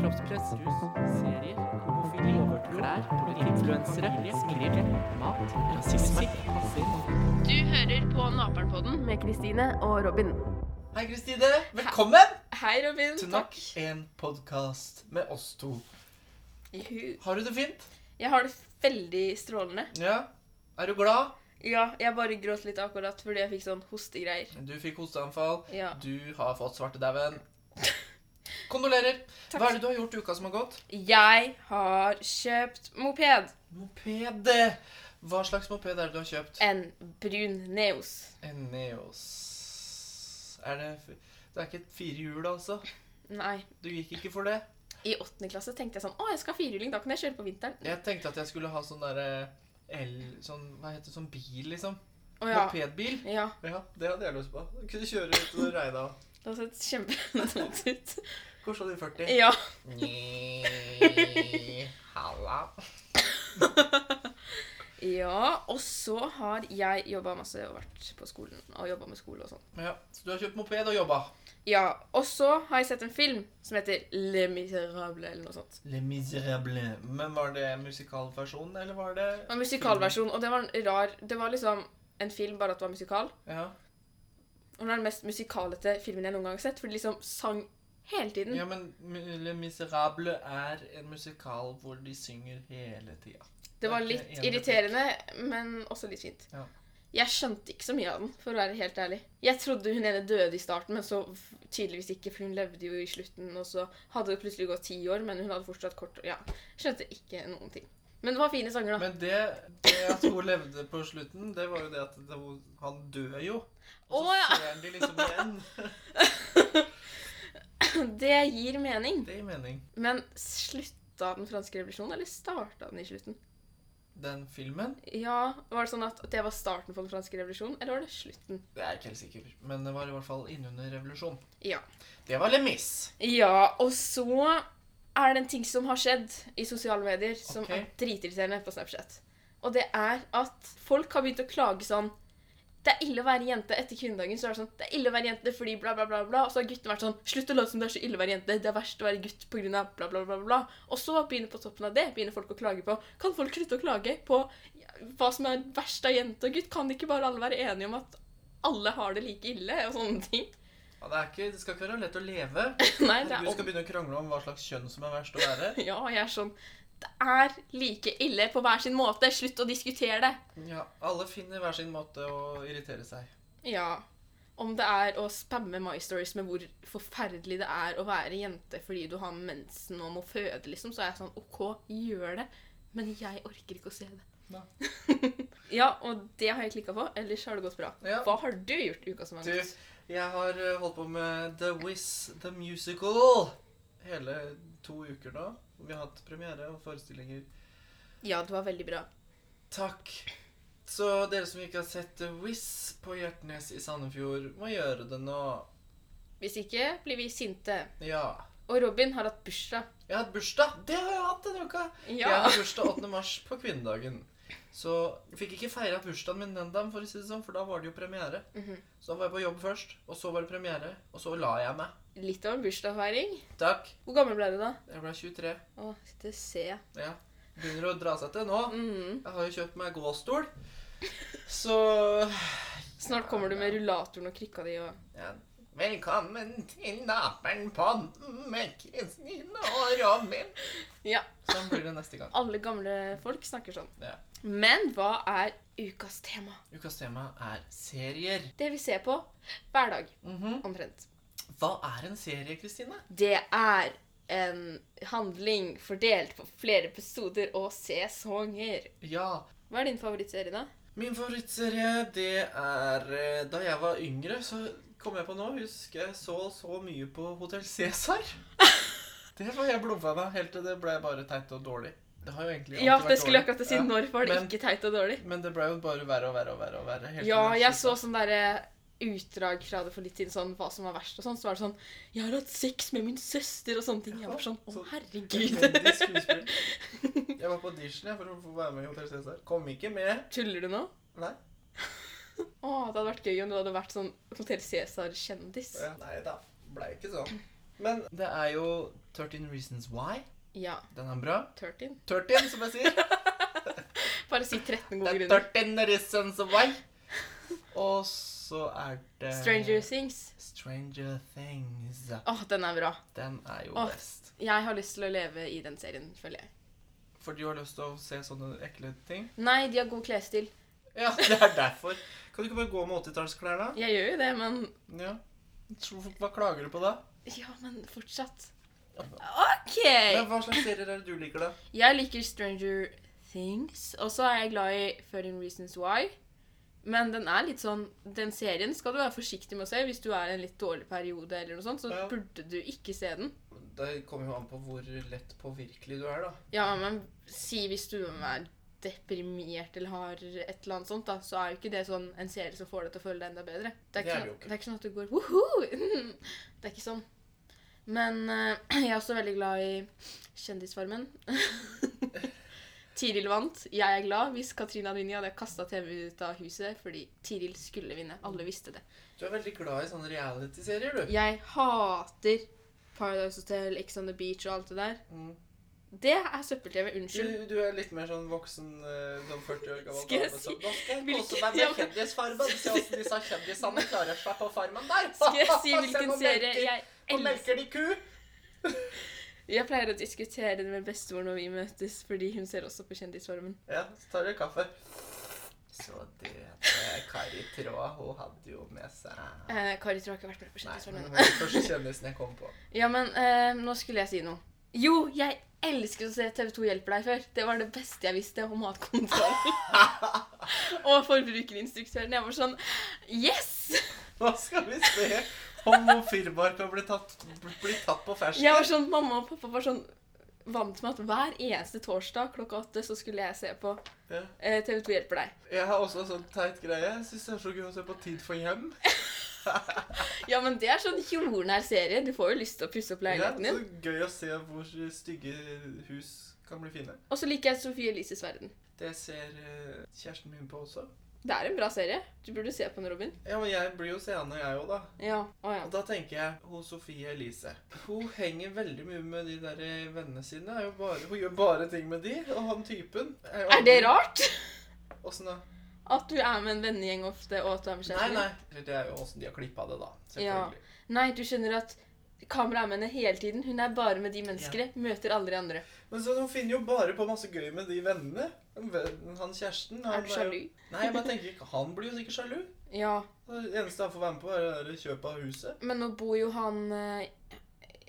kroppspress, rus, serier, homofili, klær, influensere, skrill, mat, rasisme, Du hører på Naperen-podden med Kristine og Robin. Hei, Kristine. Velkommen Hei, Robin. til nok en podkast med oss to. Juhu. Har du det fint? Jeg har det veldig strålende. Ja. Er du glad? Ja, jeg bare gråt litt akkurat fordi jeg fikk sånn hostegreier. Du fikk hosteanfall. Ja. Du har fått svartedauden. Kondolerer. Takk. Hva er det du har gjort i uka som har gått? Jeg har kjøpt moped. Moped. Hva slags moped er det du har kjøpt? En brun Neos. En Neos. Er det f- Det er ikke et firehjul, altså? Nei. Du gikk ikke for det? I åttende klasse tenkte jeg sånn Å, jeg skal ha firehjuling. Da kan jeg kjøre på vinteren. Jeg tenkte at jeg skulle ha sånn derre el... Sånn, hva heter det? Sånn bil, liksom. Å ja. Mopedbil. Ja. Ja, det hadde jeg lyst på. Kunne kjøre ut og regne av. Det har sett kjempedumt ut. Korsa di 40. Ja. Nyi, Halla. Ja. Og så har jeg jobba masse og vært på skolen og jobba med skole og sånn. Ja, så du har kjøpt moped og jobba? Ja, og så har jeg sett en film som heter Le Miserable, eller noe sånt. Le Miserable. Men var det musikalversjonen, eller var det Det var en Mhm. musikalversjon, og det var en rar Det var liksom en film, bare at det var musikal. Ja. Og den er den mest musikalete filmen jeg noen gang har sett, for de liksom sang hele tiden. ja, men Le Miserable er en musikal hvor de synger hele tida. det var det er ikke litt en irriterende, men også litt fint. Ja. Jeg skjønte ikke så mye av den, for å være helt ærlig. Jeg trodde hun ene døde i starten, men så f- tydeligvis ikke, for hun levde jo i slutten, og så hadde det plutselig gått ti år, men hun hadde fortsatt kort Ja, skjønte ikke noen ting. Men det var fine sanger, da. Men det, det at hun levde på slutten, det var jo det at det, han dør jo. Og så Å, ja. ser han de liksom igjen. Det gir mening. Det gir mening. Men slutta den franske revolusjonen, eller starta den i slutten? Den filmen Ja, Var det sånn at det var starten på den franske revolusjonen, eller var det slutten? Det er jeg ikke helt sikker, men det var i hvert fall innunder revolusjon. Ja. Det var Le Mis. Ja, og så er det en ting som har skjedd i sosiale medier som Ok. er dritirriterende på Snapchat. Og det er at folk har begynt å klage sånn Det er ille å være jente etter kvinnedagen. Så er det sånn Det er ille å være jente fordi bla, bla, bla. bla. Og så har guttene vært sånn Slutt å late som det er så ille å være jente. Det er verst å være gutt på grunn av bla, bla, bla, bla. Og så begynner på toppen av det begynner folk å klage på Kan folk slutte å klage på hva som er verst av jente og gutt? Kan ikke bare alle være enige om at alle har det like ille? Og sånne ting. Ja, det, er ikke, det skal ikke være lett å leve. Nei, det er Du skal begynne å krangle om hva slags kjønn som er verst å være. Ja, jeg er sånn Det er like ille på hver sin måte. Slutt å diskutere det. Ja, Alle finner hver sin måte å irritere seg. Ja. Om det er å spamme My Stories med hvor forferdelig det er å være jente fordi du har mensen og må føde, liksom, så er jeg sånn OK, gjør det. Men jeg orker ikke å se det. Nei. ja, og det har jeg klikka på. Ellers har det gått bra. Ja. Hva har du gjort i uka som Du, har gått? jeg har eh, holdt på med The Wiz The Musical hele to uker nå. Vi har hatt premiere og forestillinger Ja, det var veldig bra. Takk. Så dere som ikke har sett The Wiz på Hjertnes i Sandefjord, må gjøre det nå. Hvis ikke blir vi sinte. Ja. Og Robin har hatt bursdag. Jeg har hatt bursdag. Det har jeg hatt denne uka. Ja. Jeg har bursdag 8. mars på kvinnedagen. Så jeg fikk ikke feira bursdagen min den dagen, for å si det sånn, for da var det jo premiere. Mhm. Så da var jeg på jobb først, og så var det premiere, og så la jeg meg. Litt av en bursdagsfeiring. Takk. Hvor gammel ble du da? Jeg ble 23. Å, det ser jeg. Ja. Begynner å dra seg til nå. Mm. Jeg har jo kjøpt meg gåstol. Så Snart kommer du med rullatoren og krykka di og ja. Velkommen til Naperen-podden med Kristine og Robin. Ja. Sånn blir det neste gang. Alle gamle folk snakker sånn. Ja. Men hva er ukas tema? Ukas tema er serier. Det vi ser på hver dag, Mhm. omtrent. Hva er en serie, Kristine? Det er en handling fordelt på flere episoder og sesonger. Ja, Hva er din favorittserie, da? Min favorittserie, det er eh, Da jeg var yngre, så kom jeg på nå Husker jeg så så mye på Hotell Cæsar. Det var jeg blodfan av, helt til det ble bare teit og dårlig. Det har jo egentlig alltid Ja, vært det skulle jeg dårlig. akkurat si. Ja, Når var det men- ikke teit og dårlig? Men det ble jo bare verre og verre og verre. og verre helt til Ja, det jeg så slutta. sånn derre utdrag fra det for litt siden, sånn hva som var verst og sånn. Så var det sånn Jeg har hatt sex med min søster og sånne ting. Jeg var sånn Å, Så- herregud. Elendig skuespill. Jeg var på audition jeg, for å få være med i Hotell Cæsar. Kom ikke med. Tuller du nå? Nei. Å, det hadde vært gøy om du hadde vært sånn Hotell Cæsar-kjendis. Ja, Nei da. Blei ikke sånn. Men det er jo 13 Reasons Why. Ja. Den er bra. 13. 13, som jeg sier. Bare si 13 Det gode er grunner. 13 Reasons Why. Og så er det Stranger Things. Stranger Things. Åh, den er bra. Den er jo Åh. best. Jeg har lyst til å leve i den serien, føler jeg. For du har lyst til å se sånne ekle ting? Nei, de har god klesstil. Ja, det er derfor. Kan du ikke bare gå med 80-tallsklær, da? Jeg gjør jo det, men Ja. Tro- Hva klager du på da? Ja, men fortsatt. Ja. OK! Men hva slags serier er det du liker, da? Jeg liker Stranger Things, og så er jeg glad i 13 Reasons Why. Men den er litt sånn, den serien skal du være forsiktig med å se hvis du er i en litt dårlig periode. eller noe sånt, Så Ja. burde du ikke se den. Det kommer jo an på hvor lett påvirkelig du er, da. Ja, men si hvis du er deprimert eller har et eller annet sånt, da, så er jo ikke det sånn en serie som får deg til å føle deg enda bedre. Det er Det ikke, er det jo ikke. det er ikke sånn at du går woho! Det er ikke sånn. Men eh, jeg er også veldig glad i Kjendisfarmen. Tiril vant. Jeg er glad hvis Katrina Advini hadde kasta TV ut av huset fordi Tiril skulle vinne. Alle visste det. Du er veldig glad i sånne reality-serier, du. Jeg hater Paradise Hotel, Ex on the Beach og alt det der. Mm. Det er søppel-TV. Du, Unnskyld. du er litt mer sånn voksen eh, som 40 år gammel Skal jeg dame si- som Nå skal jeg Hvilken- kose meg Ja, med men- Kjendisfarmen. Se åssen disse kjendisene klarer seg på farmen der. Skal jeg si Se hvilken hvor serie melker- jeg Hvor elsker? melker de ku? Jeg pleier å diskutere det med bestemor når vi møtes, fordi hun ser også på Kjendisfarmen. Ja, så tar du kaffe. Så det eh, Kari Tråd, hun hadde jo med seg Eh, Kari tror jeg ikke har vært med på Nei, men Kjendisfarmen. hun var den første kjendisen jeg kom på. Ja, men eh, nå skulle jeg si noe. Jo, jeg elsker å se TV2 hjelper deg før. Det var det beste jeg visste om matkontroll. og forbrukerinstruktøren. Jeg var sånn Yes! Nå skal vi se om hun firmaer kan bli tatt, bli tatt på Jeg var fersken. sånn, Mamma og pappa var sånn vant med at hver eneste torsdag klokka åtte så skulle jeg se på Ja. eh, TV2 hjelper deg. Jeg har også en sånn teit greie. Jeg syns det er så gøy å se på Tid for hjem. Ja, men det er sånn jordnær serie. Du får jo lyst til å pusse opp Ja, leiligheten din. så gøy å se hvor stygge hus kan bli fine. Og så liker jeg Sofie Elises verden. Det ser eh, kjæresten min på også. Det er en bra serie. Du burde se på den, Robin. Ja, men jeg blir jo seende, jeg òg, da. Ja. Å, ja. Og da tenker jeg hun Sofie Elise. Hun henger veldig mye med de der eh, vennene sine. Er jo bare, hun gjør bare ting med de, og han typen jo Er det aldri- rart Åssen da? at du er med en vennegjeng ofte og at du er med Nei, kjæresten? nei. Det er jo åssen de har klippa det, da. Ja. Selvfølgelig. nei. du skjønner at kameraet er med henne hele tiden. Hun er bare med de menneskene. Møter aldri andre. Men så hun finner jo bare på masse gøy med de vennene. Han vennen- Han kjæresten han Er du sjalu? Jo... Nei, men jeg tenker ikke Han blir jo sikkert sjalu. Ja. Det eneste han får være med på, er det der kjøpet av huset. Men nå bor jo han eh,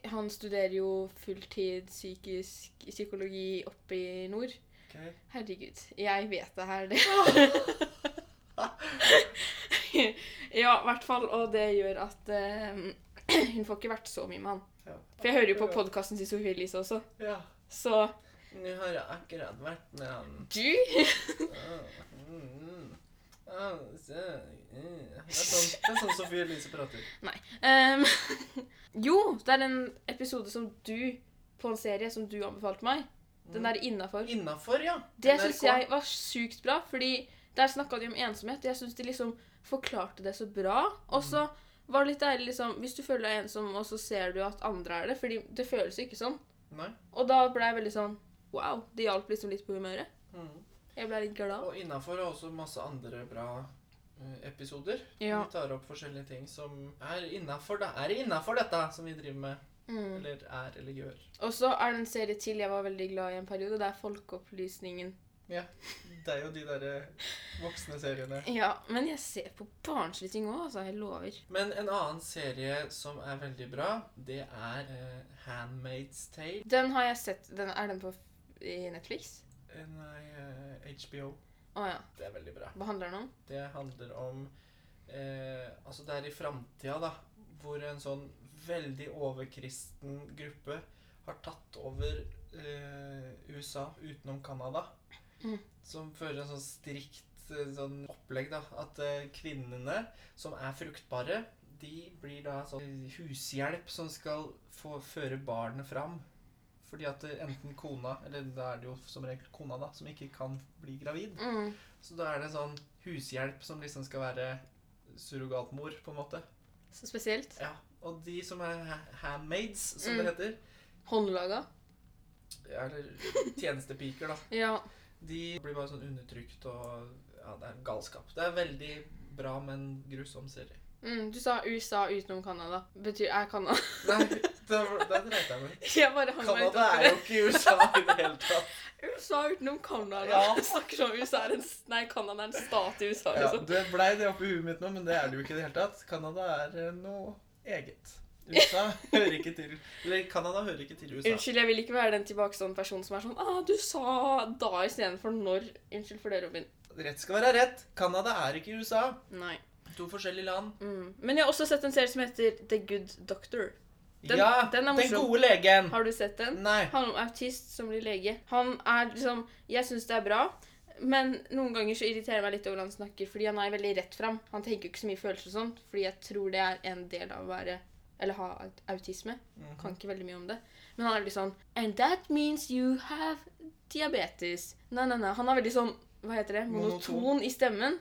Han studerer jo fulltid psykisk psykologi oppe i nord. Okay. Herregud. Jeg vet det her, det. ja, i hvert fall. Og det gjør at eh, hun får ikke vært så mye med han. Ja. For jeg hører jo på podkasten til Sofie Elise også. Ja. Så Nå har jeg akkurat vært med han du Ah, mm, mm. Ah, se, mm. Det er sånn, det er sånn Sofie Elise prater. Ehm, Jo, det er en episode som du på en serie som du anbefalte meg. Den der innafor. Innafor, ja. Det NRK. syns jeg var sykt bra, fordi der snakka de om ensomhet. og Jeg syns de liksom forklarte det så bra. Og så var det litt deilig, liksom Hvis du føler deg ensom, og så ser du at andre er det. Fordi det føles jo ikke sånn. Nei. Og da ble jeg veldig sånn Wow. Det hjalp liksom litt på humøret. Mm. Jeg ble litt glad. Og innafor er også masse andre bra eh, episoder. Ja. Vi tar opp forskjellige ting som er innafor det. Er innafor dette som vi driver med? Mm. Eller er eller gjør. Og så er det en serie til jeg var veldig glad i en periode. Det er Folkeopplysningen. Ja. Det er jo de derre voksne seriene. Ja, men jeg ser på barnslige ting òg, altså. Jeg lover. Men en annen serie som er veldig bra, det er eh, Handmaid's Tale. Den har jeg sett. Den, er den på f- i Netflix? Eh, Nei, eh, HBO. Å ja. Det er veldig bra. Hva handler den om? Det handler om eh, Altså, det er i framtida, da, hvor en sånn veldig overkristen gruppe har tatt over eh, USA utenom Canada. Mm. Som fører en sånn strikt eh, sånn opplegg, da. At eh, kvinnene som er fruktbare, de blir da sånn hushjelp som skal få føre barnet fram. Fordi at eh, enten kona, eller da er det jo som regel kona, da, som ikke kan bli gravid. Mm. Så da er det en sånn hushjelp som liksom skal være surrogatmor, på en måte. Så spesielt. Ja, og de som er ha- handmaids, som Mm. det heter, Håndlaga. eller tjenestepiker, da, Ja. de blir bare sånn undertrykt og Ja, det er galskap. Det er veldig bra, men grusom serie. Mm, du sa USA utenom Canada. Betyr er Canada Nei, det, var- det dreit jeg meg ut. Jeg bare hang meg ut Canada oppi er det. jo ikke USA i det hele tatt. USA utenom Canada. Ja. Jeg Snakker som om USA er en Nei, Canada er en stat i USA, Ja, liksom. det blei det oppi huet mitt nå, men det er det jo ikke i det hele tatt. Canada er eh, noe eget. USA hører ikke til Eller Canada hører ikke til USA. Unnskyld, jeg vil ikke være den tilbakestående personen som er sånn ah, 'Du sa da istedenfor når.' Unnskyld for det, Robin. Rett skal være rett. Canada er ikke USA. Nei. To forskjellige land. Mm. Men jeg har også sett en serie som heter The Good Doctor. Den- ja, den er morsom. gode legen. Har du sett den? Nei. Han er autist som blir lege. Han er liksom Jeg syns det er bra, men noen ganger så irriterer jeg meg litt over han snakker, fordi han er veldig rett fram. Han tenker jo ikke så mye følelser og sånn, fordi jeg tror det er en del av å være eller ha aut- autisme. Mm, Kan ikke veldig mye om det. Men han er veldig sånn And that means you have diabetes. Nei, nei, nei. Han er veldig sånn Hva heter det? Monoton, Monoton. i stemmen.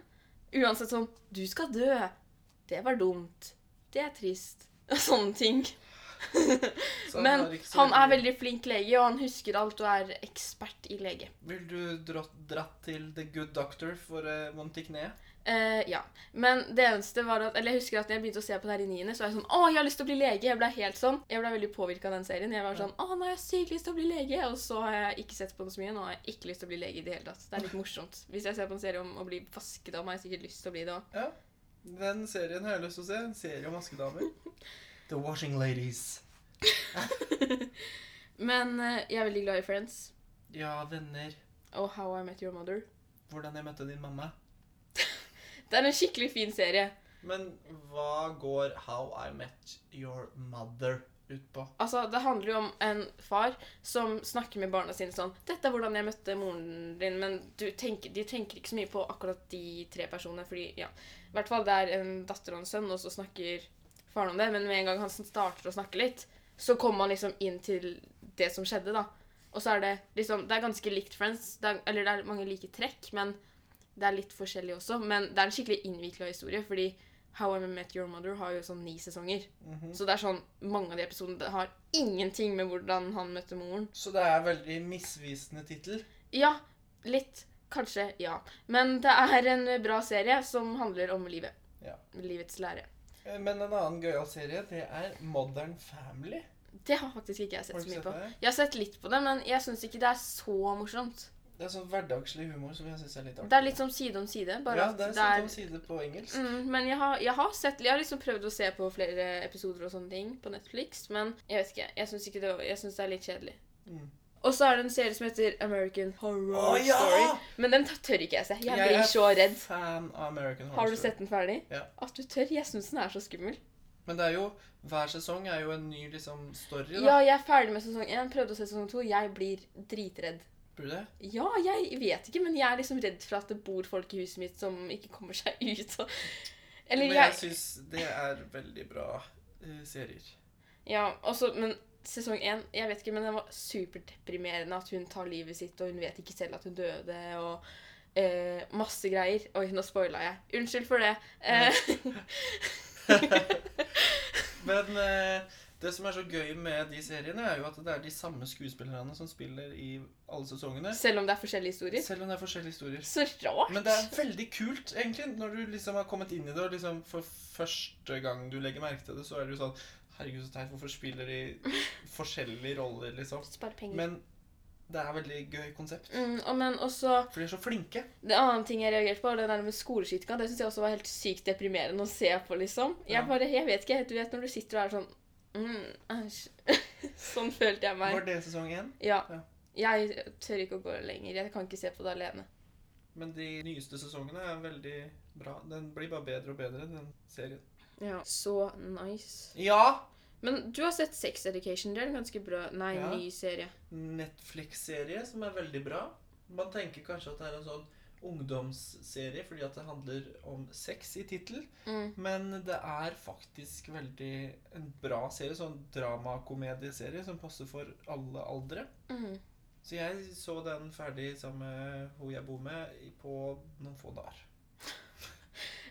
Uansett sånn Du skal dø. Det var dumt. Det er trist. Sånne ting. Så han Men har ikke så han er veldig flink lege, og han husker alt og er ekspert i lege. Vil du dratt, dratt til The Good Doctor for eh, vondt i kneet? Eh, ja. Men det eneste var at Eller jeg husker at når jeg begynte å se på det her i niende, så var jeg sånn Å, jeg har lyst til å bli lege! Jeg ble helt sånn. Jeg ble veldig påvirka av den serien. Jeg var sånn Å, nå har jeg sykt lyst til å bli lege! Og så har jeg ikke sett på den så mye. Nå har jeg ikke lyst til å bli lege i det hele tatt. Det er litt morsomt. Hvis jeg ser på en serie om å bli vasket om, har jeg sikkert lyst til å bli det òg. Ja. Den serien har jeg lyst til å se. En serie om vaskedamer. The Washing Ladies. Men eh, jeg er veldig glad i Friends Ja, venner. og How I Met Your Mother. Hvordan jeg møtte din mamma. Det er en skikkelig fin serie. Men hva går How I Met Your Mother ut på? Altså, Det handler jo om en far som snakker med barna sine sånn 'Dette er hvordan jeg møtte moren din', men du tenker, de tenker ikke så mye på akkurat de tre personene. fordi, ja, I hvert fall det er en datter og en sønn, og så snakker faren om det. Men med en gang han starter å snakke litt, så kommer han liksom inn til det som skjedde, da. Og så er det liksom Det er ganske likt Friends. Det er, eller det er mange like trekk, men det er litt forskjellig også. Men det er en skikkelig innvikla historie, fordi How I Met Your Mother har jo sånn ni sesonger. Mhm. Så det er sånn, mange av de episodene det har ingenting med hvordan han møtte moren. Så det er veldig misvisende tittel. Ja, litt. Kanskje, ja. Men det er en bra serie som handler om livet. Ja. Livets lære. Eh, Men en annen gøyal serie, det er Modern Family. Det har faktisk ikke jeg sett Har du så mye sett på. det? Jeg har sett litt på det, men jeg syns ikke det er så morsomt. Det er sånn hverdagslig humor som jeg syns er litt artig. Det er litt som side om side. Bare ja, at det er side om side på engelsk. Mm, men jeg har, jeg har sett Jeg har liksom prøvd å se på flere episoder og sånne ting på Netflix, men jeg vet ikke. Jeg syns ikke det, var- jeg synes det er litt kjedelig. Mm. Og så er det en serie som heter American Horror Å, ja! Story. Men den tør ikke jeg se. Jeg er blir så redd. fan av American Horror Har du Story. sett den ferdig? Ja. At du tør? Jeg syns den er så skummel. Men det er jo, hver sesong er jo en ny liksom, story. Ja, da. jeg er ferdig med sesong én. Prøvde å se sesong to. Jeg blir dritredd. Burde det? Ja, jeg vet ikke, men jeg er liksom redd for at det bor folk i huset mitt som ikke kommer seg ut. Og... Eller Men jeg jeg syns det er veldig bra eh, serier. Ja, også, men sesong én Jeg vet ikke, men den var superdeprimerende. At hun tar livet sitt, og hun vet ikke selv at hun døde, og eh, masse greier. Oi, nå spoila jeg. Unnskyld for det. Eh, Men eh, det som er så gøy med de seriene, er jo at det er de samme skuespillerne som spiller i alle sesongene. selv om det er forskjellige historier. Selv om det er forskjellige historier. Så rart! Men det er veldig kult, egentlig, når du liksom har kommet inn i det, og liksom for første gang du legger merke til det, så er det jo sånn Herregud, så teit. Hvorfor spiller de forskjellige roller, liksom? Spar penger. Men det er veldig gøy konsept. mm, og men også For de er så flinke. Det annen ting jeg reagerte på, var det der med skoleskytinga. Det syns jeg også var helt sykt deprimerende å se på, liksom. Ja. Jeg bare, jeg vet ikke, du vet når du sitter og er sånn mm, æsj. Sånn følte jeg meg. Var det sesong én? Ja. Ja. Jeg tør ikke å gå lenger. Jeg kan ikke se på det alene. Men de nyeste sesongene er veldig bra. Den blir bare bedre og bedre, den serien. Ja. Så nice. Ja! Men du har sett Sex Education. Det er en ganske bra Nei, Ja. ny serie. Netflix-serie som er veldig bra. Man tenker kanskje at det er en sånn ungdomsserie fordi at det handler om sex i tittel, Mm. men det er faktisk veldig en bra serie. Sånn dramakomedieserie som passer for alle aldre. Mm. Så jeg så den ferdig sammen med hun jeg bor med, i- på noen få dager.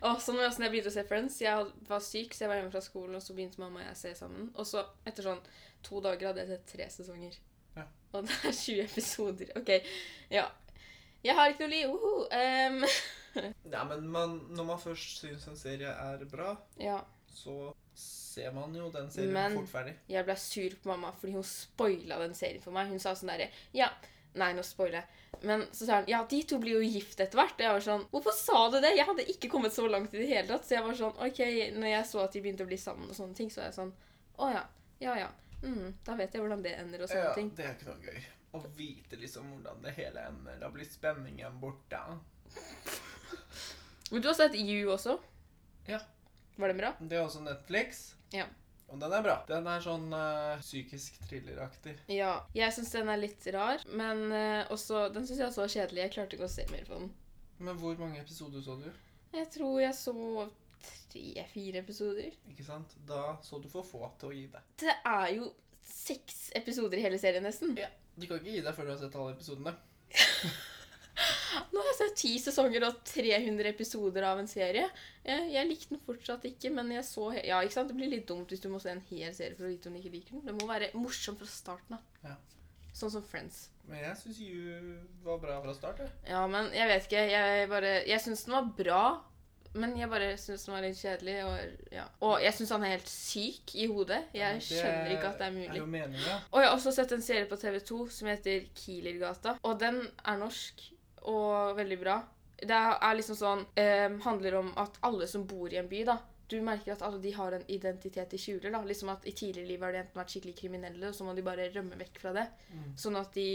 Og sånn var det også når jeg begynte å se Friends. Jeg had- var syk, så jeg var hjemme fra skolen, og så begynte mamma og jeg å se sammen. Og så, etter sånn to dager, hadde jeg sett tre sesonger. Ja. Og det er 20 episoder. OK. Ja. Jeg har ikke noe liv. Uhu. Em, Ja, men man, når man først syns en serie er bra, ja. så ser man jo den serien Men- fort ferdig. Jeg ble sur på mamma fordi hun spoila den serien for meg. Hun sa sånn derre Ja, nei, nå spoiler jeg. Men så sa hun ja, de to blir jo gift etter hvert. Og jeg var sånn Hvorfor sa du det? Jeg hadde ikke kommet så langt i det hele tatt. Så jeg var sånn OK, når jeg så at de begynte å bli sammen og sånne ting, så var jeg sånn Å ja. Ja ja. Mm, da vet jeg hvordan det ender og sånne Ja, altså, ting. det er ikke noe gøy. Å vite liksom hvordan det hele ender. Da blir spenningen borte. Men du har sett You også? Ja. Var den bra? Det er også Netflix. Ja. Og den er bra. Den er sånn eh, psykisk thrilleraktig. Ja. Jeg syns den er litt rar, men eh, også Den syns jeg også var kjedelig. Jeg klarte ikke å se mer på den. Men hvor mange episoder så du? Jeg tror jeg så tre-fire episoder. Ikke sant? Da så du for få til å gi deg. Det er jo seks episoder i hele serien, nesten. Ja. Du kan ikke gi deg før du har sett alle episodene. Nå har jeg sett ti sesonger og 300 episoder av en serie. Jeg, jeg likte den fortsatt ikke, men jeg så he- Ja, ikke sant? Det blir litt dumt hvis du må se en hel serie for å vite om du ikke liker den. Det må være morsomt fra starten av. Ja. Sånn som Friends. Men jeg syns You var bra fra start. jeg. Ja, men jeg vet ikke. Jeg bare Jeg syns den var bra. Men jeg bare syns den var litt kjedelig. Og, ja. og jeg syns han er helt syk i hodet. Ja, Jeg men skjønner ikke at det er mulig. Det er jo meningen. Og jeg har også sett en serie på TV2 som heter Kielergata. Og den er norsk og veldig bra. Det er liksom sånn ehm, Handler om at alle som bor i en by, da Du merker at alle de har en identitet de skjuler. da Liksom at I tidligere liv har de enten vært skikkelig kriminelle, og så må de bare rømme vekk fra det. Mm. Sånn at de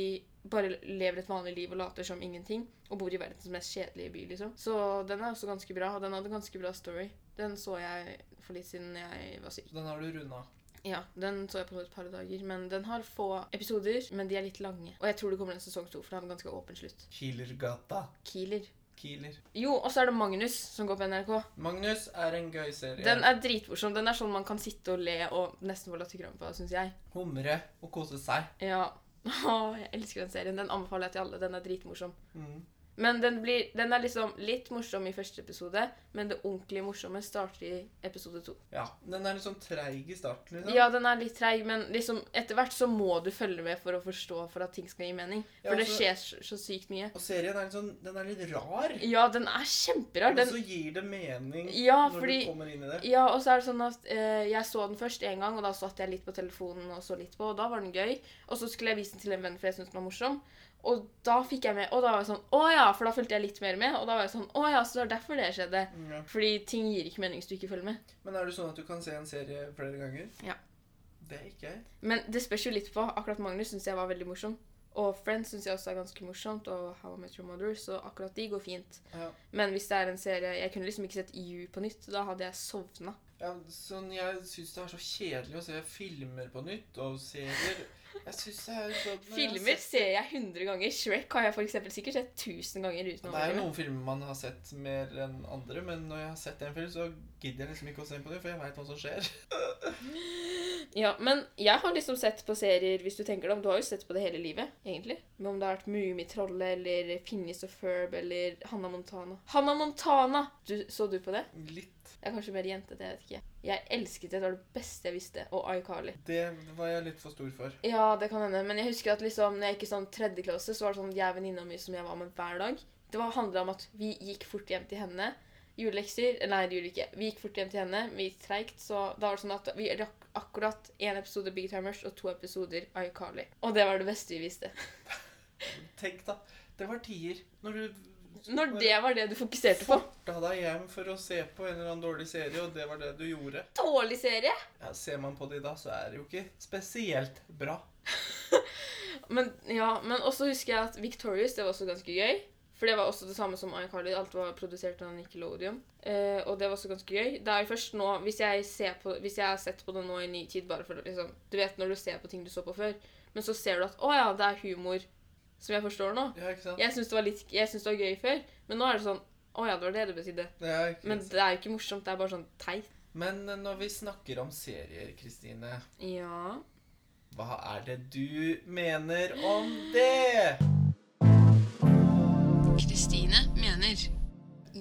bare lever et vanlig liv og later som ingenting. Og bor i verdens mest kjedelige by, liksom. Så den er også ganske bra, og den hadde ganske bra story. Den så jeg for litt siden jeg var syk. Den har du runda. Ja, den så jeg på et par dager, men den har få episoder, men de er litt lange. Og jeg tror det kommer en sesong to, for den har en ganske åpen slutt. Kielergata. Kieler. Kieler. Jo, og så er det Magnus som går på NRK. Magnus er en gøy serie. Den er dritmorsom. Den er sånn man kan sitte og le og nesten få latterkrampe av, syns jeg. Humre og kose seg. Ja. Åh, jeg elsker den serien. Den anbefaler jeg til alle. Den er dritmorsom. Mm. Men den, blir, den er liksom litt morsom i første episode, men det ordentlig morsomme starter i episode to. Ja. Den er liksom treig i starten. liksom. Ja, den er litt treig, men liksom, etter hvert så må du følge med for å forstå for at ting skal gi mening. Ja, For det altså- skjer så, så sykt mye. Og serien er, litt sånn, den er litt rar. Ja, den er kjemperar. Men Den, så gir det mening Ja, når fordi- du kommer inn i det. ja, og så er det sånn at eh, jeg så den først én gang, og da satt jeg litt på telefonen og så litt på, og da var den gøy. Og så skulle jeg vise den til en venn, for jeg syntes den var morsom. Og da fikk jeg med, og da var jeg sånn Å ja! For da fulgte jeg litt mer med, og da var jeg sånn Å ja, så det var derfor det skjedde. Mm, Ja. Fordi ting gir ikke mening hvis du ikke følger med. Men er det sånn at du kan se en serie flere ganger? Ja. Det er ikke jeg. Men det spørs jo litt på. Akkurat Magnus syns jeg var veldig morsom. Og Friends syns jeg også er ganske morsomt, og How I Met Your Mother, så akkurat de går fint. Ja. Men hvis det er en serie Jeg kunne liksom ikke sett You på nytt. Da hadde jeg sovna. Ja, sånn, jeg syns det er så kjedelig å se filmer på nytt og serier. Jeg synes det er sånn når jeg har Filmer sett- ser jeg 100 ganger. Shrek har jeg for eksempel sikkert sett 1000 ganger uten å Det er jo overdrive. noen filmer man har sett mer enn andre, men når jeg har sett en film, så gidder jeg liksom ikke å se på det, for jeg veit hva som skjer. Ja, men jeg har liksom sett på serier, hvis du tenker deg om. Du har jo sett på det hele livet, egentlig. Men om det har vært Mummitrollet eller Finnis og Ferb eller Hannah Montana. Hannah Montana! Du, så du på det? Litt. Jeg er kanskje mer jente, det jeg vet ikke. Jeg elsket det. Det var det beste jeg visste. Og iCarly. Det var jeg litt for stor for. Ja, det kan hende. Men jeg husker at liksom, når jeg gikk i sånn tredje klasse, så var det sånn at jeg og venninna mi som jeg var med hver dag. Det var- handlet om at vi gikk fort hjem til henne. Julelekser Nei, det gjorde vi ikke. Vi gikk fort hjem til henne. Vi gikk treigt. Så da var det sånn at vi rakk akkurat én episode Big Timers og to episoder iCarly. Og det var det beste vi visste. Tenk, da. Det var tier. Når du Når det var det du fokuserte på. Da deg hjem for å se på en eller annen dårlig serie, og det var det du gjorde. Dårlig serie! Ja, ser man på de da, så er det jo ikke spesielt bra. Men ja, men også husker jeg at Victorious det var også ganske gøy. For det var også det samme som iCarly. Alt var produsert av Nickelodeon. Eh, og det var også ganske gøy. Det er jo først nå, hvis jeg, ser på, hvis jeg har sett på det nå i ny tid, bare for å liksom Du vet når du ser på ting du så på før, men så ser du at å ja, det er humor som jeg forstår nå. Ja, ikke sant? Jeg syns det, var litt- jeg syns det var gøy før, men nå er det sånn Å ja, det var det det betydde. Det er ikke Men det er jo ikke morsomt. Det er bare sånn teit. Men når vi snakker om serier, Kristine, Ja. hva er det du mener om det? Kristine mener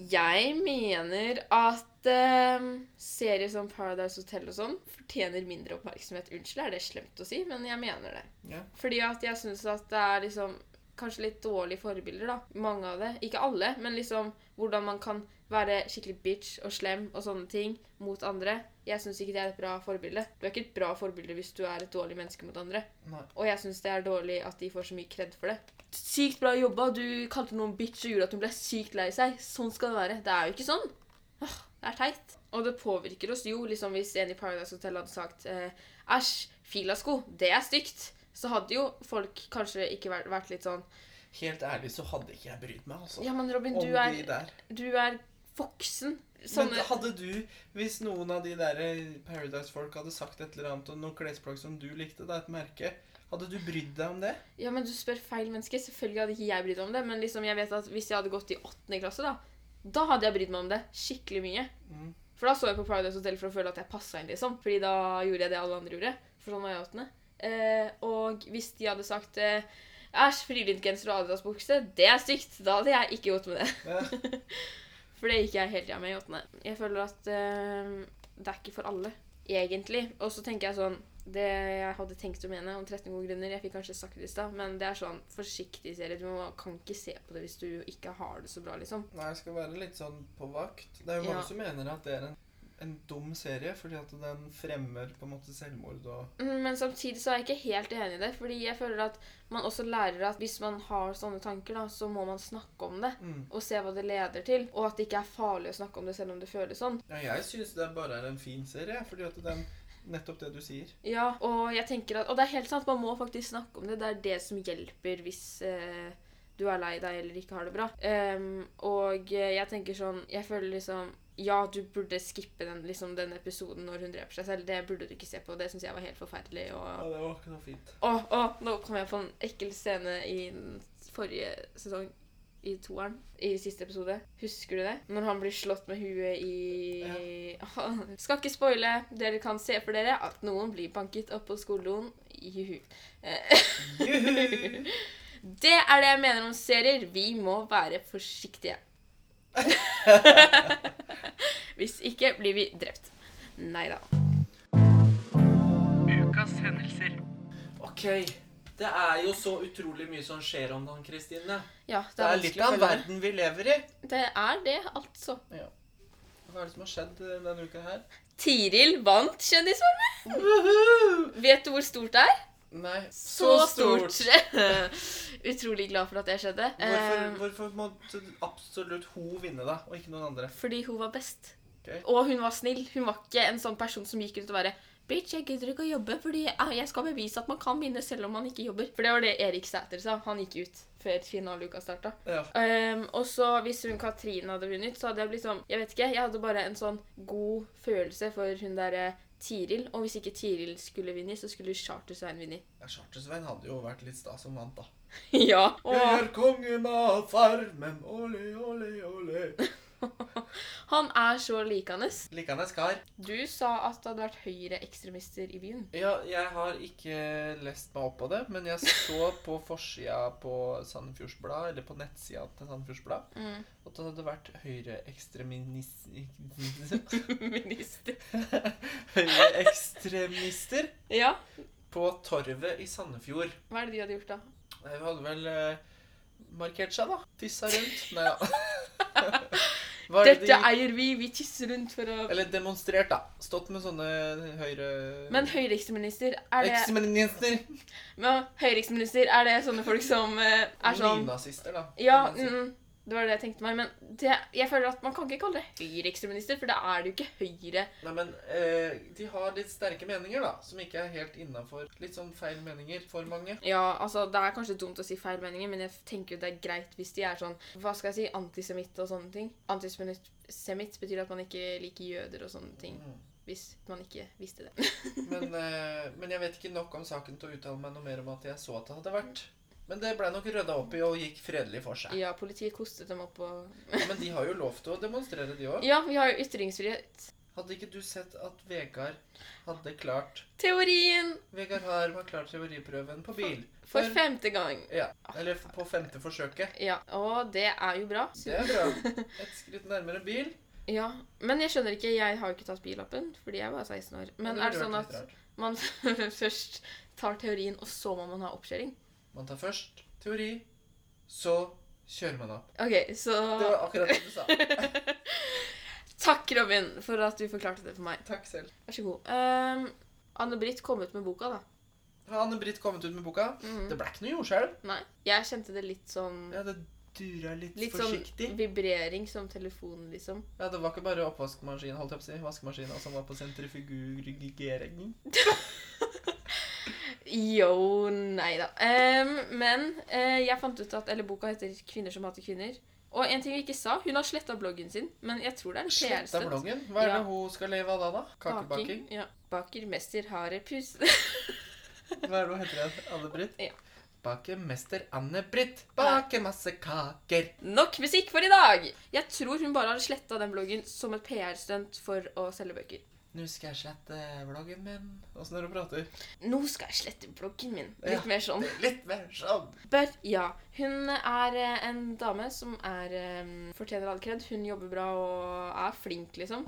Jeg mener at eh, serier som Paradise Hotel og sånn fortjener mindre oppmerksomhet. Unnskyld, er det slemt å si, men jeg mener det. Ja. Fordi at jeg syns at det er liksom kanskje litt dårlige forbilder, da. Mange av det. Ikke alle, men liksom hvordan man kan være skikkelig bitch og slem og sånne ting mot andre. Jeg syns ikke det er et bra forbilde. Du er ikke et bra forbilde hvis du er et dårlig menneske mot andre. Nei. Og jeg syns det er dårlig at de får så mye kred for det. Sykt bra jobba. Du kalte noen bitch og gjorde at hun ble sykt lei seg. Sånn skal det være. Det er jo ikke sånn. Åh, det er teit. Og det påvirker oss jo, liksom hvis en i Paradise Hotel hadde sagt eh, æsj, filasko, det er stygt, så hadde jo folk kanskje ikke vært, vært litt sånn Helt ærlig så hadde ikke jeg brydd meg, altså. Ja, men Robin, om du de er, sånn- der. du er voksen. Sånne Men hadde du, hvis noen av de der Paradise-folk hadde sagt et eller annet om noen klesplagg som du likte, da, et merke, hadde du brydd deg om det? Ja, men du spør feil menneske. Selvfølgelig hadde ikke jeg brydd meg om det. Men liksom, jeg vet at hvis jeg hadde gått i åttende klasse, da da hadde jeg brydd meg om det skikkelig mye. Mm. For da så jeg på Paradise Hotel for å føle at jeg passa inn, liksom. Fordi da gjorde jeg det alle andre gjorde. For sånn var jeg i åttende. Eh, og hvis de hadde sagt eh, Æsj, frilyngenser og Adidas-bukse, det er stygt! Da hadde jeg ikke gått med det. Ja. For det gikk jeg helt jævlig med i åttende. Jeg føler at eh, det er ikke for alle, egentlig. Og så tenker jeg sånn Det jeg hadde tenkt å mene om 13 gode grunner Jeg fikk kanskje sagt det i stad, men det er sånn forsiktig serie. Du må, kan ikke se på det hvis du ikke har det så bra, liksom. Nei, jeg skal være litt sånn på vakt. Det er jo Ja. mange som mener at det er en, en dum serie, fordi at den fremmer på en måte selvmord og Mm, Men samtidig så er jeg ikke helt enig i det, fordi jeg føler at man også lærer at hvis man har sånne tanker, da, så må man snakke om det. mm. Og se hva det leder til, og at det ikke er farlig å snakke om det selv om det føles sånn. Ja, jeg syns det bare er en fin serie, fordi at den Nettopp det du sier. Ja, og jeg tenker at Og det er helt sant, man må faktisk snakke om det. Det er det som hjelper hvis eh, du er lei deg eller ikke har det bra. Ehm, og eh, jeg tenker sånn Jeg føler liksom Ja, du burde skippe den, liksom, den episoden når hun dreper seg selv. Det burde du ikke se på. Det syns jeg var helt forferdelig. Ja, Og det var ikke noe fint. Å, å, nå kom jeg på en ekkel scene i den forrige sesong. I toeren. I siste episode. Husker du det? Når han blir slått med huet i Skal ikke spoile. Dere kan se for dere at noen blir banket opp på skoledoen. Juhu. Eh, Juhu! Det er det jeg mener om serier. Vi må være forsiktige. Hvis ikke blir vi drept. Nei da. Ukas hendelser. OK. Det er jo så utrolig mye som skjer om dagen, Kristine. Ja, Det er litt vanskelig å av en følge med. verden vi lever i. Det er det, altså. Hva er det som har skjedd eh, denne uka her? Tiril vant Kjendisfarmen. Vet du hvor stort det er? Nei, Utrolig glad for at det skjedde. Hvorfor, Eh, hvorfor måtte absolutt hun vinne, da, og ikke noen andre? Fordi hun var best. Ok. Og hun var snill. Hun var ikke en sånn person som gikk rundt og bare Bitch, jeg gidder ikke å jobbe, fordi eh, jeg skal bevise at man kan vinne selv om man ikke jobber. For det var det Erik Sæter sa. Han gikk ut før finaleuka starta. Ja. Ehm, og så hvis hun Katrin hadde vunnet, så hadde jeg blitt sånn Jeg vet ikke, jeg hadde bare en sånn god følelse for hun derre Tiril. Og hvis ikke Tiril skulle vinne, så skulle Charter-Svein vinne. Ja, Charter-Svein hadde jo vært litt stas som vant, da. ja. Jeg Og er kongen av farmen, ole, ole, ole. han er så likende. Likende skar. Du sa at det hadde vært høyreekstremister i byen. Ja, jeg har ikke lest meg opp på det, men jeg så på forsida på Sandefjords Blad, eller på nettsida til Sandefjords Blad, Mm. at det hadde vært høyreekstreminis- Minister. høyreekstremister Ja. på Torvet i Sandefjord. Hva er det de hadde gjort, da? Nei, Hun hadde vel eh, markert seg, da. Tissa rundt. Nei da. Hva er det Dette de- eier vi! Vi tisser rundt for å Eller demonstrert, da. Stått med sånne høyre... Men høyreekstremister, er det Eksminister. Men høyreekstremister, er det sånne folk som eh, er sånn Nynazister, da. Ja, kan man si. mm, det var det jeg tenkte meg. Men det, jeg føler at man kan ikke kalle det høyreekstremister, for da er det jo ikke høyre. Nei, men eh, de har litt sterke meninger, da. Som ikke er helt innafor. Litt sånn feil meninger for mange. Ja, altså, Det er kanskje dumt å si feil meninger, men jeg tenker jo det er greit hvis de er sånn hva skal jeg si, antisemitt og sånne ting. Antisemitt betyr at man ikke liker jøder og sånne ting. Mm. Hvis man ikke visste det. Men, eh, men jeg vet ikke nok om saken til å uttale meg noe mer om at jeg så at det hadde vært. Men det blei nok rydda opp i og gikk fredelig for seg. Ja, politiet kostet dem opp og Men de har jo lov til å demonstrere, de òg. Ja, vi har jo ytringsfrihet. Hadde ikke du sett at Vegard hadde klart Teorien! Vegard Harm har klart teoriprøven på bil. For For- femte gang. Ja, Eller på femte forsøket. Ja, og det er jo bra. Det er bra. Ett skritt nærmere bil. Ja, Men jeg skjønner ikke, jeg har jo ikke tatt billappen, fordi jeg var 16 år. Men ville er det vært sånn litt at rart. man først tar teorien, og så må man ha oppkjøring? Man tar først teori, så kjører man opp. OK, så Det var akkurat det du sa. Takk, Robin, for at du forklarte det for meg. Takk selv. Vær så god. Um, Anne-Britt kom ut med boka, da. Har Anne-Britt kommet ut med boka? Mhm. Det ble ikke noe jordskjelv. Nei. Jeg kjente det litt sånn Ja, det dura litt, Litt forsiktig. sånn vibrering som telefonen, liksom. Ja, Det var ikke bare oppvaskmaskinen, holdt jeg på å si. Vaskemaskinen som var på sentrifugering. Jo, nei da. Ehm, men eh, jeg fant ut at Eller boka heter 'Kvinner som hater kvinner'. Og en ting vi ikke sa, hun har sletta bloggen sin, men jeg tror det er en Sletta PR-støtt. bloggen. Hva er det Ja. hun skal leve av da, da? Kakebaking? Ja. Baker, mester, hare, pus. Hva er det hun heter igjen? Anne-Britt? Ja. Bakemester Anne-Britt baker masse kaker. Nok musikk for i dag! Jeg tror hun bare har sletta den bloggen som et PR-stunt for å selge bøker. Nå skal jeg slette bloggen min. Åssen er det hun prater? Nå skal jeg slette bloggen min. Litt Ja. mer sånn. Litt mer sånn. Bør, ja. Hun er eh, en dame som er eh, fortjener all kred. Hun jobber bra og er flink, liksom.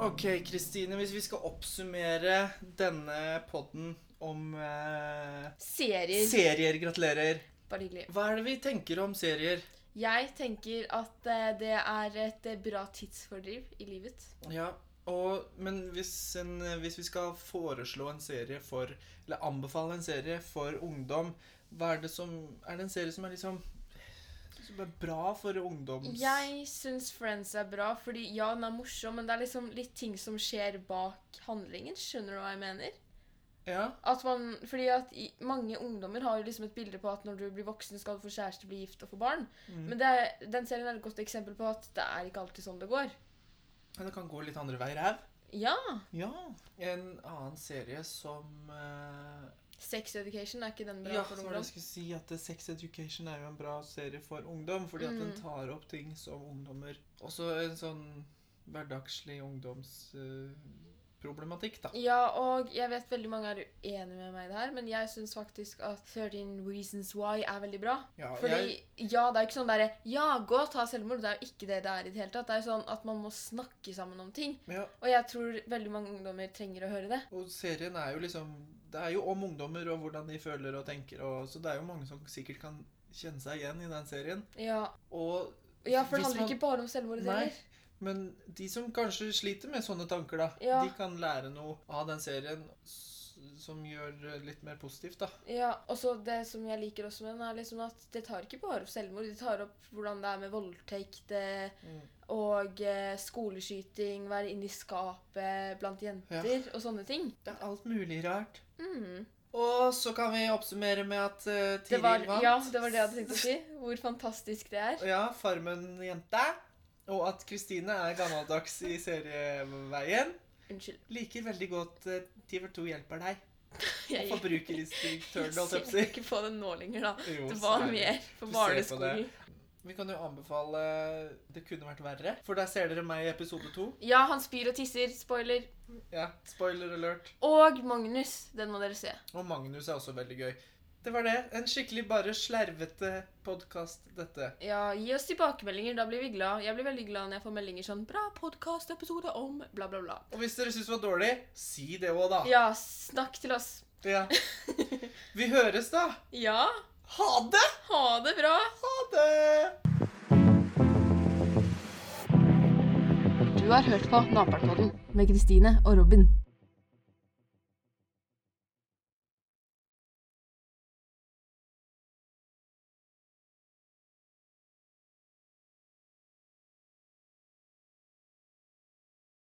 Ok, Kristine, hvis vi skal oppsummere denne podden om eh, Serier. serier, gratulerer. Bare hyggelig. Hva er det vi tenker om serier? Jeg tenker at eh, det er et eh, bra tidsfordriv i livet. Ja, og, men hvis, en, hvis vi skal foreslå en serie for Eller anbefale en serie for ungdom, hva er det som Er det en serie som er liksom Som er bra for ungdoms... Jeg syns Friends er bra, fordi ja, den er morsom, men det er liksom litt ting som skjer bak handlingen. Skjønner du hva jeg mener? Ja, At man, fordi at i, Mange ungdommer har jo liksom et bilde på at når du blir voksen, skal du få kjæreste, bli gift og få barn. Mm. Men det, er- den serien er et godt eksempel på at det er ikke alltid sånn det går. men det kan gå litt andre veier her. Ja! Ja. En annen serie som eh, Sex Education er ikke den bra Ja, for så var det ungdom. jeg skulle si at eh, Sex Education er jo en bra serie for ungdom, fordi at den Mm. tar opp ting som ungdommer Også en sånn hverdagslig ungdomsproblematikk, da. Ja, og jeg vet veldig mange er uenige med meg i det her, men jeg syns faktisk at 13 Reasons Why er veldig bra. Ja, Fordi, ja, det er jo ikke sånn derre Ja, gå og ta selvmord. Det er jo ikke det det er i det hele tatt. Det er jo sånn at man må snakke sammen om ting. jeg, ja, Og jeg tror veldig mange ungdommer trenger å høre det. og serien er jo liksom Det er jo om ungdommer og hvordan de føler og tenker, og, så det er jo mange som sikkert kan kjenne seg igjen i den serien. Ja, Og ja for det hvis handler man- ikke bare om selvmord Nei. heller. Men de som kanskje sliter med sånne tanker, da, Ja. de kan lære noe av den serien s- som gjør det litt mer positivt, da. Ja, og så Det som jeg liker også med den, er liksom at det tar ikke bare opp selvmord. Det tar opp hvordan det er med voldtekt eh, Mm. og eh, skoleskyting, være inne i skapet blant jenter og sånne ting. Det er alt mulig rart. Mm. Og så kan vi oppsummere med at eh, Det Tiril var, vant. ja, det var det jeg hadde tenkt å si. Hvor fantastisk det er. Ja, Farmen-jente. Og at Kristine er gammeldags i serieveien. Unnskyld. Liker veldig godt eh, TV2 hjelper deg. Jeg gikk Og Forbrukerinstruktøren, holdt jeg på ser å si. ikke på det nå lenger, da. Jo, Det var særlig. mer på Du ser på barneskolen. Vi kan jo anbefale Det kunne vært verre. For der ser dere meg i episode to. Ja, han spyr og tisser. Spoiler. Ja, spoiler alert. Og Magnus. Den må dere se. Og Magnus er også veldig gøy. Det var det. En skikkelig bare slervete podkast, dette. Ja, Gi oss tilbakemeldinger. Da blir vi glad. Jeg blir veldig glad når jeg får meldinger sånn 'Bra podkastepisode om bla, bla, bla'. Og hvis dere syns det var dårlig, si det òg, da. Ja, snakk til oss. Ja. Vi høres, da. Ja, Ha det! ha det bra. Ha det! Du har hørt på Naperpodden med Kristine og Robin.